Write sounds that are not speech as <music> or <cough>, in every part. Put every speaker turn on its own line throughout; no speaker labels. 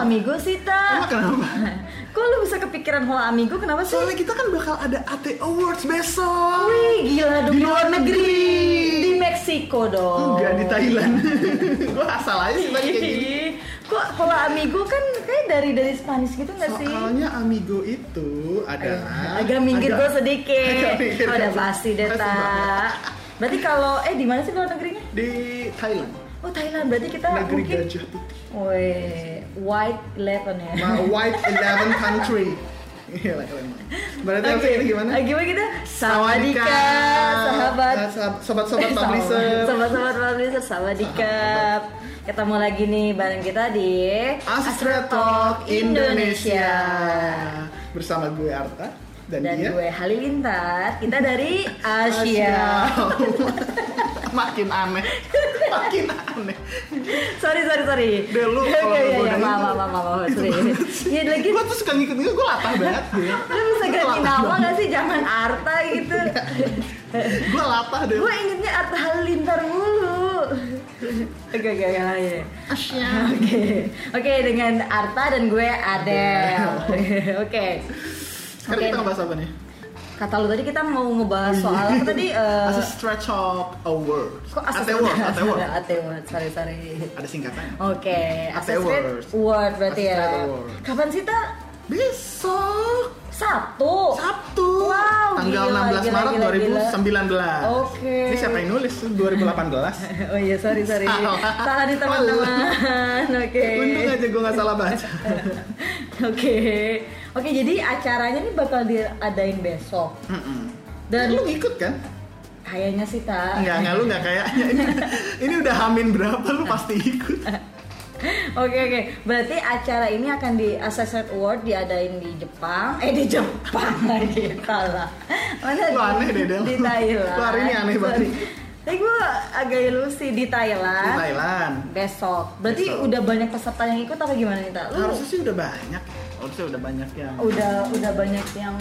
Amigo sih, Ta?
Emang kenapa?
<laughs> Kok lu bisa kepikiran Hola Amigo? Kenapa sih?
Soalnya kita kan bakal ada AT Awards besok.
Wih, gila dong.
Di luar negeri.
Di Meksiko dong.
Enggak di Thailand. <laughs> Gua asal aja sih tadi kayak gini.
Ih, Kok Hola Amigo kan kayak dari dari Spanish gitu nggak sih?
Soalnya Amigo itu adalah
Agak minggir gue sedikit.
Agak minggir
Oh, udah
gua
pasti deh,
Pasti
Ta.
banget.
Berarti kalau eh di mana sih luar negerinya?
Di Thailand,
Oh, Thailand. Berarti kita
negeri
mungkin
gajah putih.
Woi, White Eleven ya.
Ma white eleven country. Iya, Gila keren banget. Berarti apa
Oke.
ini gimana?
Ah, gimana kita?
Sawadika.
Sawadika, sahabat.
Eh, sahab- Sobat-sobat publisher.
Sahabat-sahabat publisher, sawadika. Ketemu lagi nih bareng kita di
Astra Talk Indonesia. Bersama gue Arta dan,
Dan
dia
gue Halilintar, kita
<laughs>
dari Asia.
Makin aneh. Makin aneh.
sorry, sorry, sorry.
Deh, lu kalau
Oke, iya, iya,
ngegodain
maaf,
tuh-
maaf, maaf, maaf, sorry. Iya, lagi
Gue tuh suka ngikut-ngikut, gue latah banget deh.
lu bisa ganti nama gak sih? Jangan Arta
<laughs>
gitu.
Iya. Gue latah deh.
gue ingetnya Arta Halilintar mulu. Oke, oke, oke. iya.
Asia.
Oke, oke dengan Arta dan gue Adel. <laughs> Oke,
Sekarang kita ngebahas apa nih?
kata lu tadi kita mau ngebahas soal apa
<laughs>
tadi? Eh,
Asus Stretch Talk Awards.
kok
AT
assessment?
Awards, AT Awards.
AT Awards, sorry sorry.
Ada singkatannya.
Oke,
Awards.
assessment award berarti ya.
Assessment Award.
Kapan sih ta?
Besok
Sabtu.
Sabtu
Wow,
tanggal
gila,
16
gila,
Maret
gila, gila.
2019.
Oke.
Ini siapa yang nulis? 2018.
Oh iya, sorry sorry.
Salah.
Salah nih teman-teman. Oke.
Untung aja gue nggak salah baca.
Oke. Oke, jadi acaranya nih bakal diadain besok.
Mm-mm.
Dan-
lu ngikut kan?
Kayaknya sih, Ta.
Enggak, enggak lu enggak kayaknya. <laughs> Ini, ini udah hamin berapa lu pasti ikut.
Kan? Oke oke, berarti acara ini akan di Assessment Award diadain di Jepang, eh di Jepang <laughs> lagi kalah. Mana
Lu aneh deh, Del.
Di Thailand.
Lu hari ini aneh banget.
Sorry. Tapi gue agak ilusi di
Di
Thailand.
Thailand.
Besok. Berarti
Besok.
udah banyak peserta yang ikut apa gimana nih, Ta? Lu Oh, iya.
Harusnya sih udah banyak. ya. Harusnya udah banyak yang
udah udah banyak yang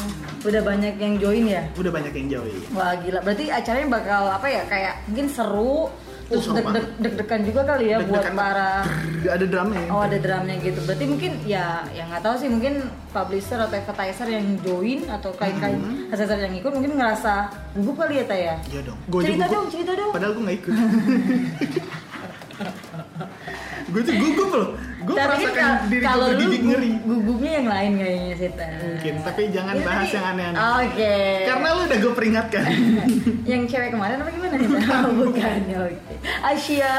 udah banyak yang join ya?
udah banyak yang iya. join.
Wah gila. Berarti acaranya bakal apa ya? Kayak mungkin seru, terus
Oh, seru
deg-deg- deg-degan juga kali ya buat
Deg-degan. <laughs>
para
Brrr, ada drama ya.
Oh ada drumnya gitu. Berarti mungkin ya yang nggak tahu sih mungkin publisher atau advertiser yang join atau kain-kain
Hmm.
advertiser yang ikut mungkin ngerasa gugup kali ya Taya.
Iya dong. Gua aja
Cerita
gugup.
dong, cerita dong.
Padahal gue gak ikut. <laughs> gue tuh gugup loh. Gue
Tapi kan
merasakan
kal-
diri
kalau
gue
lu
didik
gu-
ngeri.
Gugupnya yang lain kayaknya sih Taya.
Mungkin, tapi jangan
Iya,
bahas
tapi-
yang aneh-aneh.
Oke.
Karena lu udah gue
<laughs>
peringatkan.
yang cewek kemarin apa gimana?
<laughs>
Bukan, Bukan. Oke. Asia.
ya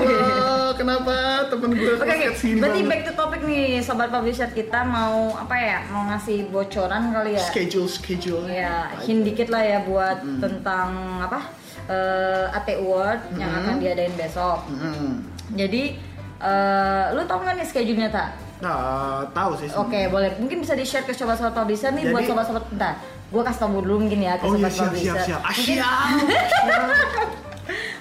Oke.
Allah, kenapa temen gue
Oh, iya. Oke, oke.
basket segini
berarti
banget.
back to topic nih, sobat publisher kita mau apa ya? Mau ngasih bocoran kali ya?
Schedule, schedule.
Ya, hint dikit lah ya buat tentang apa eh, AT Award yang
Mm-mm.
akan diadain besok.
Mm-mm.
Jadi, eh, lu tau nggak nih schedule-nya tak?
Nah, tahu sih.
Oke,
sebenarnya.
boleh. Mungkin bisa di share ke sobat-sobat publisher nih buat
Jadi-
sobat-sobat. Bentar, gue kasih tau dulu mungkin ya ke
Oh iya
sobat
siap siap
publisher.
siap.
Mungkin-
Asia.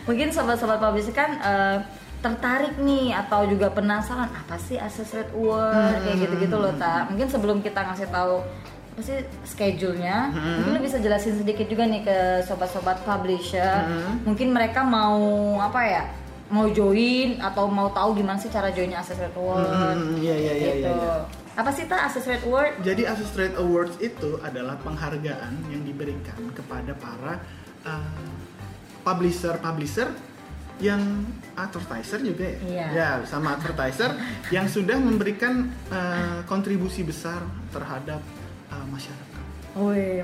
Mungkin sobat-sobat publisher kan eh, tertarik nih atau juga penasaran apa sih Access Rate Award kayak
Hmm.
gitu-gitu loh ta. Mungkin sebelum kita ngasih tahu apa sih schedule-nya,
Hmm.
mungkin lu bisa jelasin sedikit juga nih ke sobat-sobat publisher.
Hmm.
Mungkin mereka mau apa ya? Mau join atau mau tahu gimana sih cara joinnya Access Rate Award?
Hmm, iya iya iya iya.
gitu.
iya.
Apa sih ta Access Rate Award?
<laughs> Jadi Asus Trade Awards itu adalah penghargaan yang diberikan kepada para uh, publisher-publisher yang advertiser juga ya.
Iya.
Ya, sama
<laughs>
advertiser yang sudah memberikan uh, kontribusi besar terhadap uh, masyarakat.
Wih,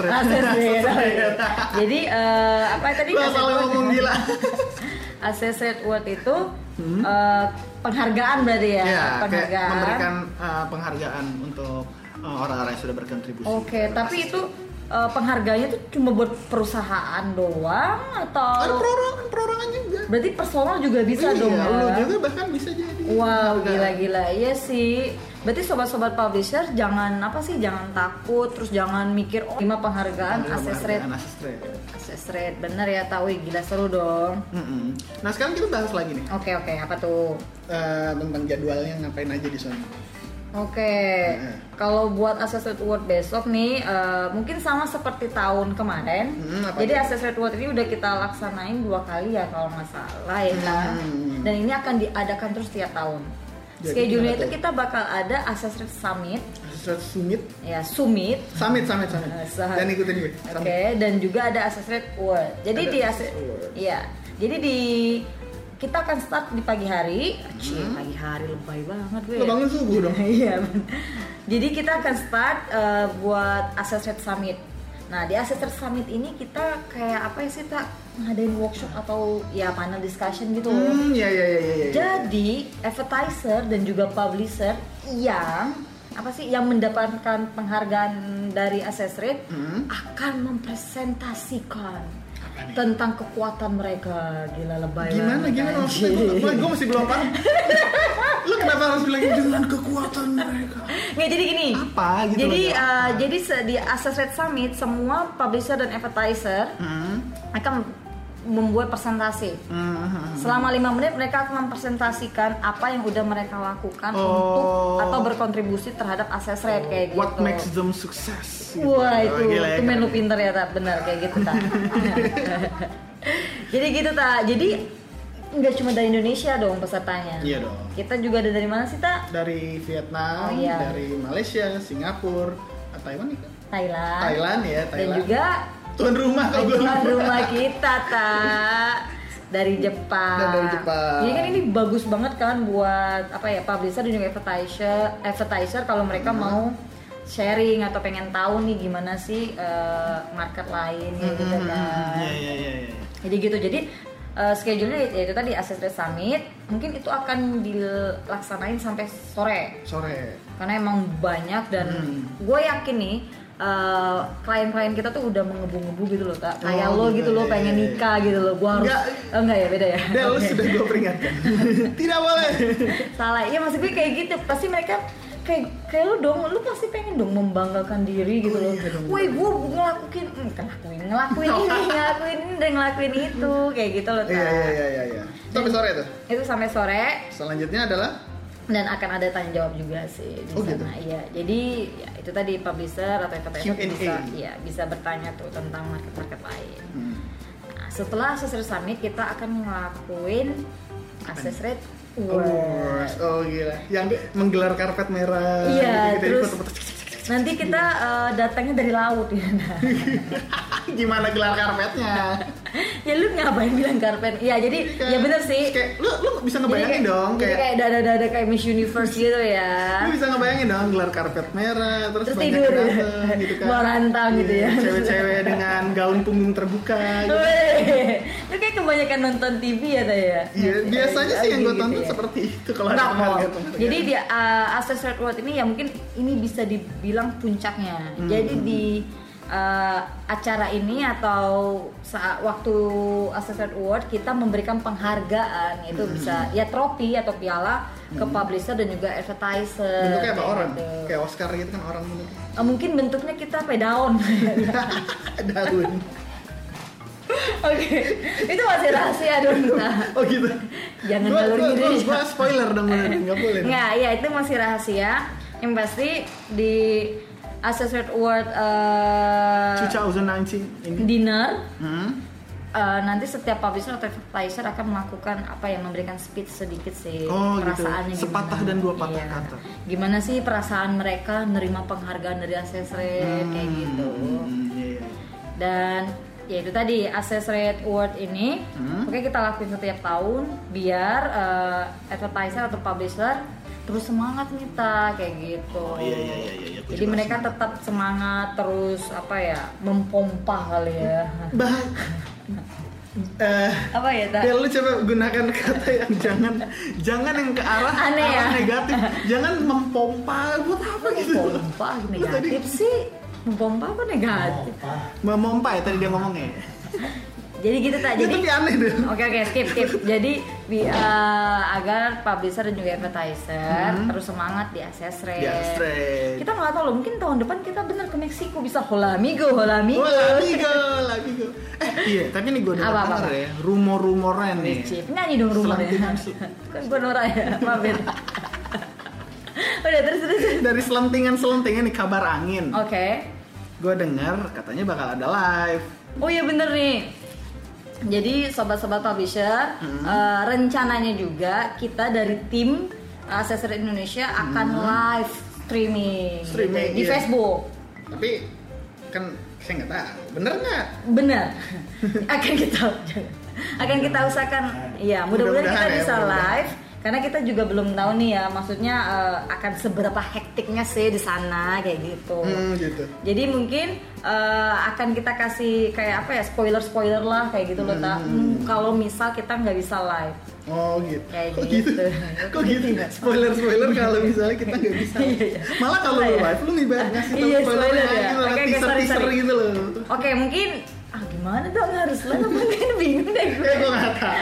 Asus Rate.
Asus
<laughs>
Rate.
Asus Rate.
Jadi eh, apa tadi?
Gua
Asus
salah
Rate.
ngomong gila.
Assessed Award itu eh, penghargaan berarti <laughs> ya,
Ya, Hmm? kayak
penghargaan.
memberikan uh, penghargaan untuk uh, orang-orang yang sudah berkontribusi.
Oke,
terhadap
tapi
Asus
itu eh, penghargaannya tuh cuma buat perusahaan doang atau
Ada perorangan, perorangan juga.
berarti personal juga Oh. bisa
Iya,
dong?
Lu
ya?
juga bahkan bisa jadi.
Wow,
Enggak.
gila-gila. Iya sih. Berarti sobat-sobat publisher jangan apa sih? Jangan takut, terus jangan mikir oh, lima penghargaan,
Ada
access rate,
penghargaan Asus Trade.
access rate. Bener ya, tahu gila seru dong.
Mm-mm. Nah sekarang kita bahas lagi nih
Oke, oke, apa tuh?
eh, tentang jadwalnya ngapain aja di sana.
Oke,
Heeh.
kalau buat Assessment Award besok nih eh, mungkin sama seperti tahun kemarin.
Hmm, apa
Jadi
tuh?
Assessment Award ini udah kita laksanain dua kali ya kalau nggak salah ya kan.
Hmm.
Dan ini akan diadakan terus tiap tahun.
Jadi
Schedule-nya
gimana
itu
tuh?
kita bakal ada Assessment Summit,
Asesret Summit,
ya summit.
Summit, Summit, Summit.
Eh, summit.
Dan ikutin gue.
Oke,
Summit.
dan juga ada Assessment Award. Jadi
Ada
di
Assess
asse-
Award.
Iya. Jadi di kita akan start di pagi hari. Cie, pagi hari lebay banget gue.
Lo Mm-hmm. bangun subuh dong.
Iya. bener. Jadi kita akan start eh, buat Assessment Summit. Nah, di Assessment Summit ini kita kayak apa ya sih, Pak? Ngadain workshop atau ya panel discussion gitu.
Hmm, ya ya ya ya. ya.
Jadi advertiser dan juga publisher yang apa sih yang mendapatkan penghargaan dari Assess Rate
Hmm.
akan mempresentasikan
Apa nih?
tentang kekuatan mereka gila lebay
Gimana
banget,
gimana maksudnya
anjing.
gue gue masih belum paham. Lo kenapa harus bilang gitu? dengan kekuatan mereka?
Nggak jadi gini.
Apa gitu
Jadi
loh,
eh,
apa?
jadi se- di Assess Rate Summit semua publisher dan advertiser
Hmm.
akan membuat presentasi.
Hmm.
Selama lima menit mereka akan mempresentasikan apa yang udah mereka lakukan
Oh.
untuk atau berkontribusi terhadap akses rate kayak gitu.
What makes them success? Gitu.
Wah
Oh,
itu,
gila ya,
itu men
keren.
lu pinter ya tak benar kayak gitu tak. <laughs> Jadi gitu tak. Jadi nggak cuma dari Indonesia dong pesertanya.
Iya dong.
Kita juga ada dari mana sih tak?
Dari Vietnam,
Oh, iya.
dari Malaysia, Singapura, ah, Taiwan nih kan?
Thailand.
Thailand ya,
Dan
Thailand.
juga
tuan rumah kalau gue
tuan
<laughs>
rumah gitu, kita tak dari Jepang.
Dan Iya, dari Jepang.
Jadi kan ini bagus banget kan buat apa ya publisher dan juga advertiser, advertiser kalau mereka
Mm-hmm.
mau sharing atau pengen tahu nih gimana sih eh, market lain kayak gitu kan.
Hmm, Iya iya iya. iya.
Jadi gitu. Jadi eh, schedule-nya ya itu tadi Assessment Summit mungkin itu akan dilaksanain sampai sore <laughs>
Sore.
karena emang banyak dan
Hmm.
gue yakin nih eh, klien-klien kita tuh udah mengebu-ngebu gitu loh tak kayak
Oh,
lo gitu
iya,
lo
iya,
pengen
iya.
nikah gitu loh gue harus
Enggak.
Oh, enggak ya beda ya
Del
Oke.
sudah gue peringatkan. Tidak boleh.
<laughs> salah iya maksud gue kayak gitu pasti mereka kayak kayak lu dong lu pasti pengen dong membanggakan diri gitu
Oh,
loh
iya dong.
woi gue ngelakuin hmm, ngelakuin ngelakuin
<laughs>
ini ngelakuin ini dan ngelakuin itu kayak gitu loh tak
Iya iya iya iya. iya. Sampai sore tuh.
itu sampai sore
Selanjutnya adalah
dan akan ada tanya jawab juga sih di
Oh, gitu?
sana iya jadi ya, itu tadi publisher atau advertiser
Q&A.
bisa ya bisa bertanya tuh tentang market market lain
hmm,
nah, setelah Assess Rate Summit kita akan ngelakuin Assess Rate Awards.
awards. Oh gila. Yang menggelar karpet merah.
Iya,
gitu-gitu.
terus
Foto-foto. <laughs>
nanti kita eh, datangnya dari laut ya. <laughs> Nah.
Gimana gelar karpetnya?
ya lu ngapain bilang karpet? Ya jadi
Kayak-
<laughs> ya bener sih.
Iya. Kayak lu lu bisa ngebayangin
Jadi
dong
jadi
kayak,
kayak dada-dada kayak Miss Universe gitu ya.
lu bisa ngebayangin dong gelar karpet merah terus,
Terus
banyak
tidur
yang
ya?
dateng, gitu kan.
Merantau gitu
Iya,
ya.
Cewek-cewek dengan gaun punggung terbuka gitu.
Weh, lu kayak kebanyakan nonton TV ya tadi ya?
Iya, biasanya sih yang gue
Gitu
tonton
ya.
seperti itu kalau ada gitu.
Enggak kok.
penghargaan- penghargaan.
Jadi di uh, Access Red World ini ya mungkin ini bisa dibilang puncaknya.
Hmm.
Jadi di uh, acara ini atau saat waktu Access Red Award kita memberikan penghargaan itu
Hmm.
bisa ya trofi atau piala ke publisher dan juga advertiser.
bentuknya apa orang?
gitu.
Kayak Oscar gitu kan orang bentuknya.
Eh, mungkin bentuknya kita ya, pedaun.
<laughs> Daun.
<laughs> Oke. Itu masih rahasia dong. Nah.
Oh gitu.
Jangan
gua,
ngalur
gua,
gitu
gua,
ya.
gua spoiler dong
<laughs>
beneran. nggak boleh. dong.
Nggak, ya itu masih rahasia. Yang pasti di Assessment Award eh,
2019 ini.
dinner
Hmm?
eh, nanti setiap publisher atau advertiser akan melakukan apa yang memberikan speech sedikit sih
Oh, gitu.
perasaannya
Sepatah
gimana.
dan dua patah
Iya.
kata.
Gimana sih perasaan mereka nerima penghargaan dari Assessment kayak gitu.
Hmm, iya, iya.
Dan ya itu tadi Access Rate Award ini
Hmm.
oke kita lakuin setiap tahun biar eh, advertiser atau publisher terus semangat nih Ta, kayak gitu.
Oh, iya, iya, iya, iya, aku
Jadi
juga
mereka
semangat.
tetap semangat terus apa ya mempompa kali ya.
Bah. Eh,
<laughs> apa ya Ta?
Del, lu coba gunakan kata yang jangan jangan yang ke arah,
Aneh
arah
ya?
negatif. Jangan mempompa buat apa gitu.
Mempompa
Lu tadi-
negatif sih. Mempompa apa negatif?
Memompa ya tadi dia ngomongnya. ya?
Jadi gitu tak
Itu
jadi
dia aneh deh.
Oke oke skip skip. Jadi bi- eh, agar publisher dan juga advertiser terus semangat di access
Hmm. Di
rate.
access rate.
Kita nggak tahu loh, mungkin tahun depan kita bener ke Meksiko bisa hola amigo, hola amigo.
Oh, Lamigo, Lamigo. Eh, iya, tapi ini gue
Apa,
dengar
apa,
denger ya, rumor-rumoran nih.
Cip, nyanyi dong rumahnya.
Selantinan sih.
<laughs> kan gue norak ya, maafin. <laughs> Udah terus terus. Oke.
Eh, Dari selentingan-selentingan nih kabar angin.
Oh.
Gue dengar katanya bakal ada live.
Oh iya bener nih. Jadi sobat-sobat publisher, eh, rencananya juga kita dari tim Accessory Indonesia akan live streaming,
Streaming,
di
iya.
Facebook.
Tapi kan saya nggak tahu, bener nggak?
Benar. <laughs> akan kita <laughs> akan kita usahakan ya mudah-mudahan kita
Mudah-mudahan ya,
bisa
mudah-mudahan.
live karena kita juga belum tahu nih ya maksudnya eh, akan seberapa hektiknya sih di sana kayak gitu.
Hmm, gitu.
Jadi mungkin eh, akan kita kasih kayak apa ya spoiler-spoiler lah kayak gitu loh Ta. Hmm, kalau misal kita nggak bisa live.
Oh gitu.
Kayak
Kok
gitu.
gitu? Kok gitu? Spoiler spoiler kalau misalnya kita nggak bisa.
Iya, iya.
Malah kalau
Iya,
lu
iya.
live, lu lebih banyak ngasih tahu
Iya,
spoiler
spoiler ya.
gitu,
Oke, oke,
teaser
sorry,
teaser
sorry.
gitu loh.
Oke, mungkin ah gimana dong harus
<laughs>
live mungkin bingung deh gue.
Eh, gue nggak tahu.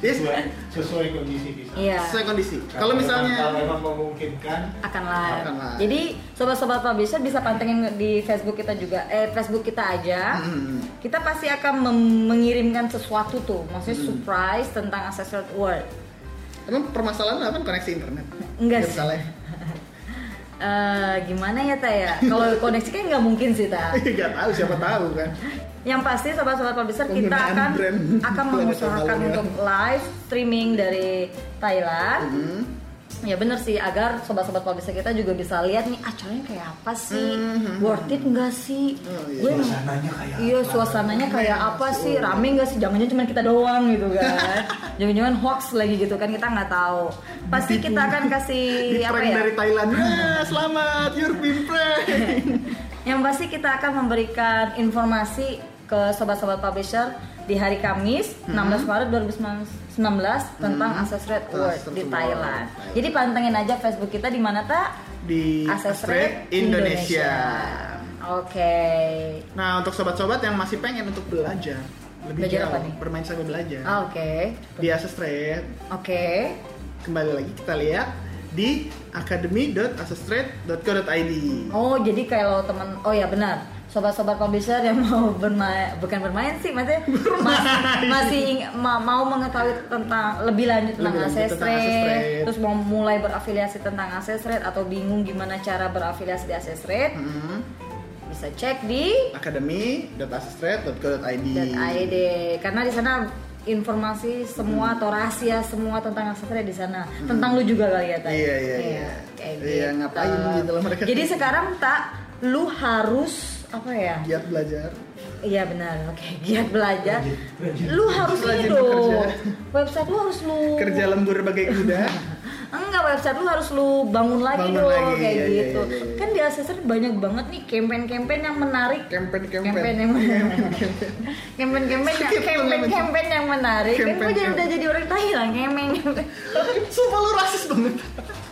Yes,
sesuai, sesuai kondisi bisa.
Iya.
sesuai kondisi. Kalau misalnya
kalau memang memungkinkan
akan live.
Akan live.
Jadi sobat-sobat publisher bisa pantengin di Facebook kita juga, eh Facebook kita aja.
Hmm.
Kita pasti akan mem- mengirimkan sesuatu tuh, maksudnya
Mm-hmm.
surprise tentang Accessory World.
Emang permasalahan apa koneksi internet?
Enggak
Ya,
sih.
Misalnya.
Eh, gimana ya Taya?
<laughs>
Kalau koneksi kan nggak mungkin sih ta.
Gak tahu siapa tahu kan.
Yang pasti sobat-sobat publisher kita
Penggunaan
akan
brand.
akan
Planet Halo
mengusahakan
ya.
untuk live streaming dari Thailand.
Hmm.
Ya bener sih agar sobat-sobat publisher kita juga bisa lihat nih acaranya kayak apa sih, worth it nggak sih?
Mhm. Oh, iya.
Gue
suasananya kayak
Iya
apa?
suasananya kayak apa sih rame nggak sih jangan-jangan cuma kita doang gitu
<laughs>
kan jangan-jangan hoax lagi gitu kan kita nggak tahu pasti kita akan kasih
<laughs> Di
apa
prank
ya
dari Thailand. Ah, selamat, you're been
<laughs>
pranked.
yang pasti kita akan memberikan informasi ke sobat-sobat publisher di hari Kamis 16 Maret 2019 tentang
Mhm.
Access Red
Tentang
Award
Access
di
Red
Thailand.
Award.
Jadi pantengin aja Facebook kita di mana tak?
Di
Access
Astrid,
Red
Indonesia.
Oke.
Nah, untuk sobat-sobat yang masih pengen untuk belajar lebih jauh,
Belajar apa nih?
bermain sambil belajar.
Ah, Oke.
Di Asus Trade,
Oke.
kembali lagi kita lihat di academy.asestrade.co.id.
Oh, jadi kalau teman oh ya benar. Sobat-sobat publisher yang mau bermain bukan bermain sih,
<laughs>
maksudnya mas- masih ing- ma- mau mengetahui tentang lebih lanjut tentang
Lebih lanjut
akses
tentang
rate,
akses rate.
terus mau mulai berafiliasi tentang akses rate atau bingung gimana cara berafiliasi di akses rate,
Hmm,
bisa cek di
academy.asestrade.co.id.
dan AED karena di sana informasi
Hmm.
semua atau rahasia semua tentang akses rate di sana tentang lu juga kali ya Tay?
Iya, iya, iya.
kayak
Iya, ngapain gitu loh mereka.
jadi sekarang tak lu harus apa ya
Giat belajar.
Iya benar, oke <laughs> giat belajar.
Rajin, rajin.
Lu harus
Rajin
ini
Iya,
dong.
bekerja.
Website lu harus lu
Kerja lembur bagai kuda.
<laughs> Enggak website lu harus lu bangun lagi
Bangun
dong
lagi, iya,
kayak
iya,
gitu.
iya, iya.
Kan di asesor banyak banget nih campaign-campaign yang menarik. Campaign
Kempen-kempen.
yang
<laughs>
campaign-campaign yang
Skip dong,
campaign campaign yang menarik. Kan gue jadi
Campaign-campaign.
udah jadi orang Thailand,
<laughs>
campaign
Sumpah lu rasis banget.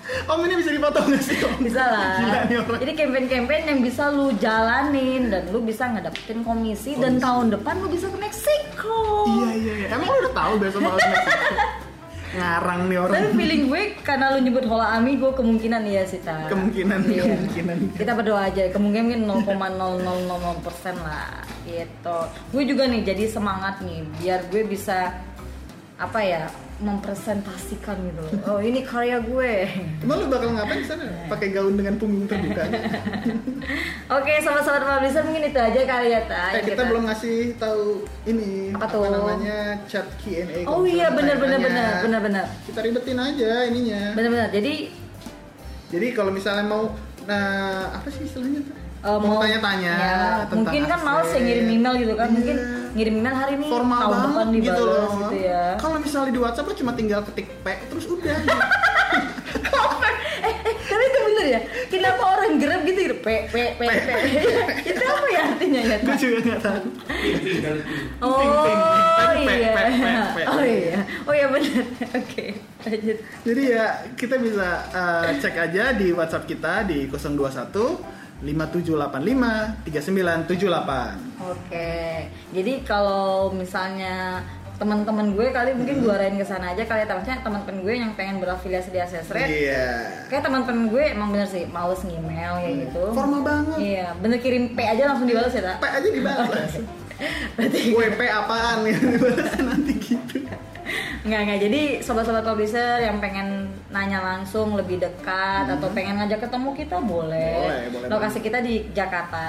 Om ini bisa dipotong nggak sih? Om?
bisa
Gila
lah.
nih orang.
Jadi campaign-campaign yang bisa lu jalanin dan lu bisa ngedapetin komisi dan tahun depan lu bisa ke Meksiko.
Iya iya iya. Emang lu udah tahu besok mau
<laughs>
Ngarang nih orang.
Tapi feeling gue karena lu nyebut Hola Amigo kemungkinan iya sih ta.
Kemungkinan,
Iya.
kemungkinan.
Kita berdoa aja, kemungkinan mungkin 0,000 persen lah gitu. Gue juga nih jadi semangat nih biar gue bisa apa ya mempresentasikan gitu. loh. Oh ini karya gue.
Emang lu bakal ngapain di sana? Pakai gaun dengan punggung terbuka.
<laughs> Oke, sobat-sobat publisher mungkin itu aja kali ya ta.
Eh,
yang
kita belum ngasih tahu ini
Apa tuh?
namanya chat Q&A.
Oh iya benar benar benar
Tanya-tanya.
benar benar
Kita ribetin aja ininya.
benar benar. Jadi
Jadi kalau misalnya mau nah apa sih istilahnya tuh?
Eh,
mau tanya-tanya
ya,
tentang
mungkin kan
aset.
males ya ngirim email gitu kan
Iya.
mungkin ngirim email hari ini
formal
tahun depan
banget
dibalas
gitu
gitu,
loh.
ya
Kalau misalnya di WhatsApp lu cuma tinggal ketik P terus udah.
<laughs> eh, eh, tapi itu bener ya kenapa orang grab gitu gitu p p p p itu apa ya artinya ya
Gue juga nggak tahu.
Inti dari itu.
oh
Ting, ting, ting. Tapi P,
iya
P, P, P.
oh iya oh iya bener oke lanjut
Jadi ya kita bisa eh, cek aja di WhatsApp kita di 021 5785 3978.
Oke, jadi kalau misalnya teman-teman gue kali
Hmm.
mungkin gue arahin ke sana aja kali ya maksudnya teman-teman gue yang pengen berafiliasi di Access Rate
Iya.
Kayak teman-teman gue emang bener sih males ngemail kayak gitu.
Formal banget.
Iya, bener kirim P aja langsung dibalas ya, tak?
P aja dibalas.
<laughs> Berarti
WP apaan <laughs> ya dibalas nanti gitu.
nggak nggak. Jadi sobat-sobat publisher yang pengen nanya langsung lebih dekat atau pengen ngajak ketemu kita Hmm. boleh.
Boleh, boleh
Lokasi kita di Jakarta.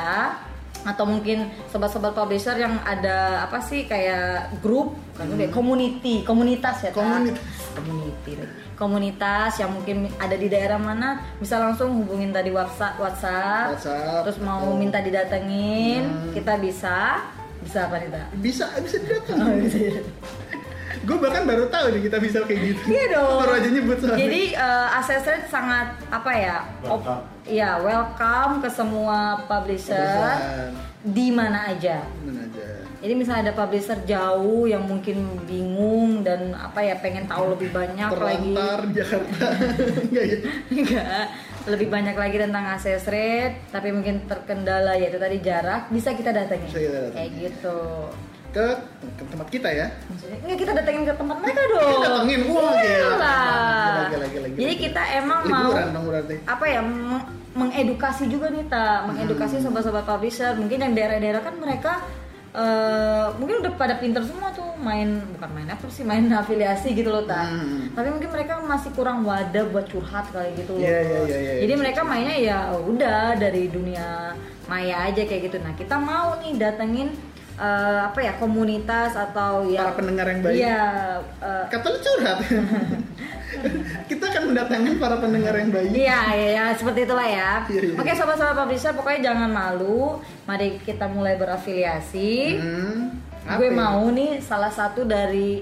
atau mungkin sobat-sobat publisher yang ada apa sih kayak grup kan kayak community komunitas ya Ta?
Komunitas.
community lagi. komunitas yang mungkin ada di daerah mana bisa langsung hubungin tadi WhatsApp WhatsApp, Hmm.
WhatsApp,
terus mau
atau-
minta didatengin kita bisa bisa apa nih Ta?
bisa bisa
Oh,
didatang
iya. <laughs>
gue bahkan baru tahu nih kita bisa kayak gitu
Iya dong.
baru aja nyebut soalnya
Jadi eh, Access Rate sangat apa ya? op-
Welcome.
Iya, welcome ke semua publisher
Perusahaan.
di mana aja.
Gimana aja
Jadi misalnya ada publisher jauh yang mungkin bingung dan apa ya pengen tahu lebih banyak lagi.
terlantar di Jakarta <laughs> nggak gitu
<laughs> Enggak, lebih banyak lagi tentang akses rate, tapi mungkin terkendala yaitu tadi jarak, bisa kita datengin.
Bisa kita datengin.
Kayak gitu.
ke, ke tempat kita ya
Maksudnya, enggak kita datengin ke tempat mereka dong.
Kita datengin, wah, gila.
Iyalah.
Gila, gila, gila, gila,
Jadi
gila.
kita emang mau
liburan dong berarti
apa ya meng- mengedukasi juga nih ta
Hmm.
mengedukasi sobat-sobat publisher mungkin yang daerah-daerah kan mereka eh, mungkin udah pada pinter semua tuh main bukan main apa sih main afiliasi gitu loh ta
Hmm.
tapi mungkin mereka masih kurang wadah buat curhat kali gitu loh
Iya, iya, iya, iya,
jadi
iya.
mereka mainnya ya udah dari dunia maya aja kayak gitu nah kita mau nih datengin eh, apa ya komunitas atau ya
para pendengar yang baik
iya eh,
kata lu curhat
<laughs>
kita akan mendatangkan para pendengar yang baik
Iya, iya, iya, seperti itulah ya.
Iya, iya.
Oke, sobat-sobat publisher, pokoknya jangan malu. Mari kita mulai berafiliasi.
hmm, apa
Gue
ya?
mau nih salah satu dari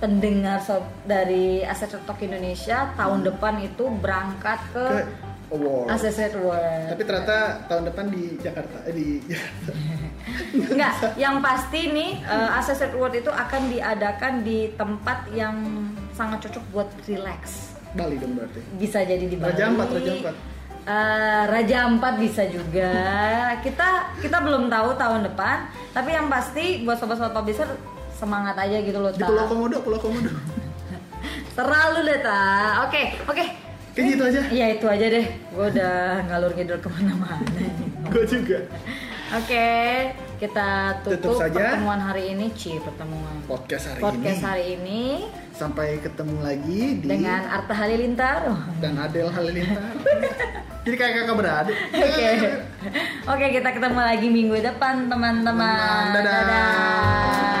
pendengar sob dari Aset Talk Indonesia tahun depan itu berangkat ke,
Hmm. ke award
Aset World.
tapi ternyata tahun depan di Jakarta eh, di <laughs> Jakarta
Enggak, yang pasti nih
Hmm.
eh, Asset World itu akan diadakan di tempat yang sangat cocok buat relax.
Bali dong berarti
bisa jadi di Bali.
Raja Ampat, Raja Ampat.
Eh, Raja Ampat bisa juga. kita kita belum tahu tahun depan, tapi yang pasti buat sobat-sobat publisher semangat aja gitu loh,
di
Ta.
Pulau Komodo Pulau
<laughs>
Komodo
Terlalu deh, Ta. Oke, oke.
kayak gitu aja
Ya itu aja deh. Gue udah ngalur ngidul kemana-mana. ini.
gue juga
Oke, kita tutup,
Tutup saja.
pertemuan hari ini, Ci, pertemuan
podcast hari
podcast
ini
hari ini
sampai ketemu lagi di
dengan Arta Halilintar.
dan Adel
<laughs>
Halilintar jadi kayak kakak beradik
Oke. Oke, kita ketemu lagi minggu depan, teman-teman.
Teman, dadah.
Dadah.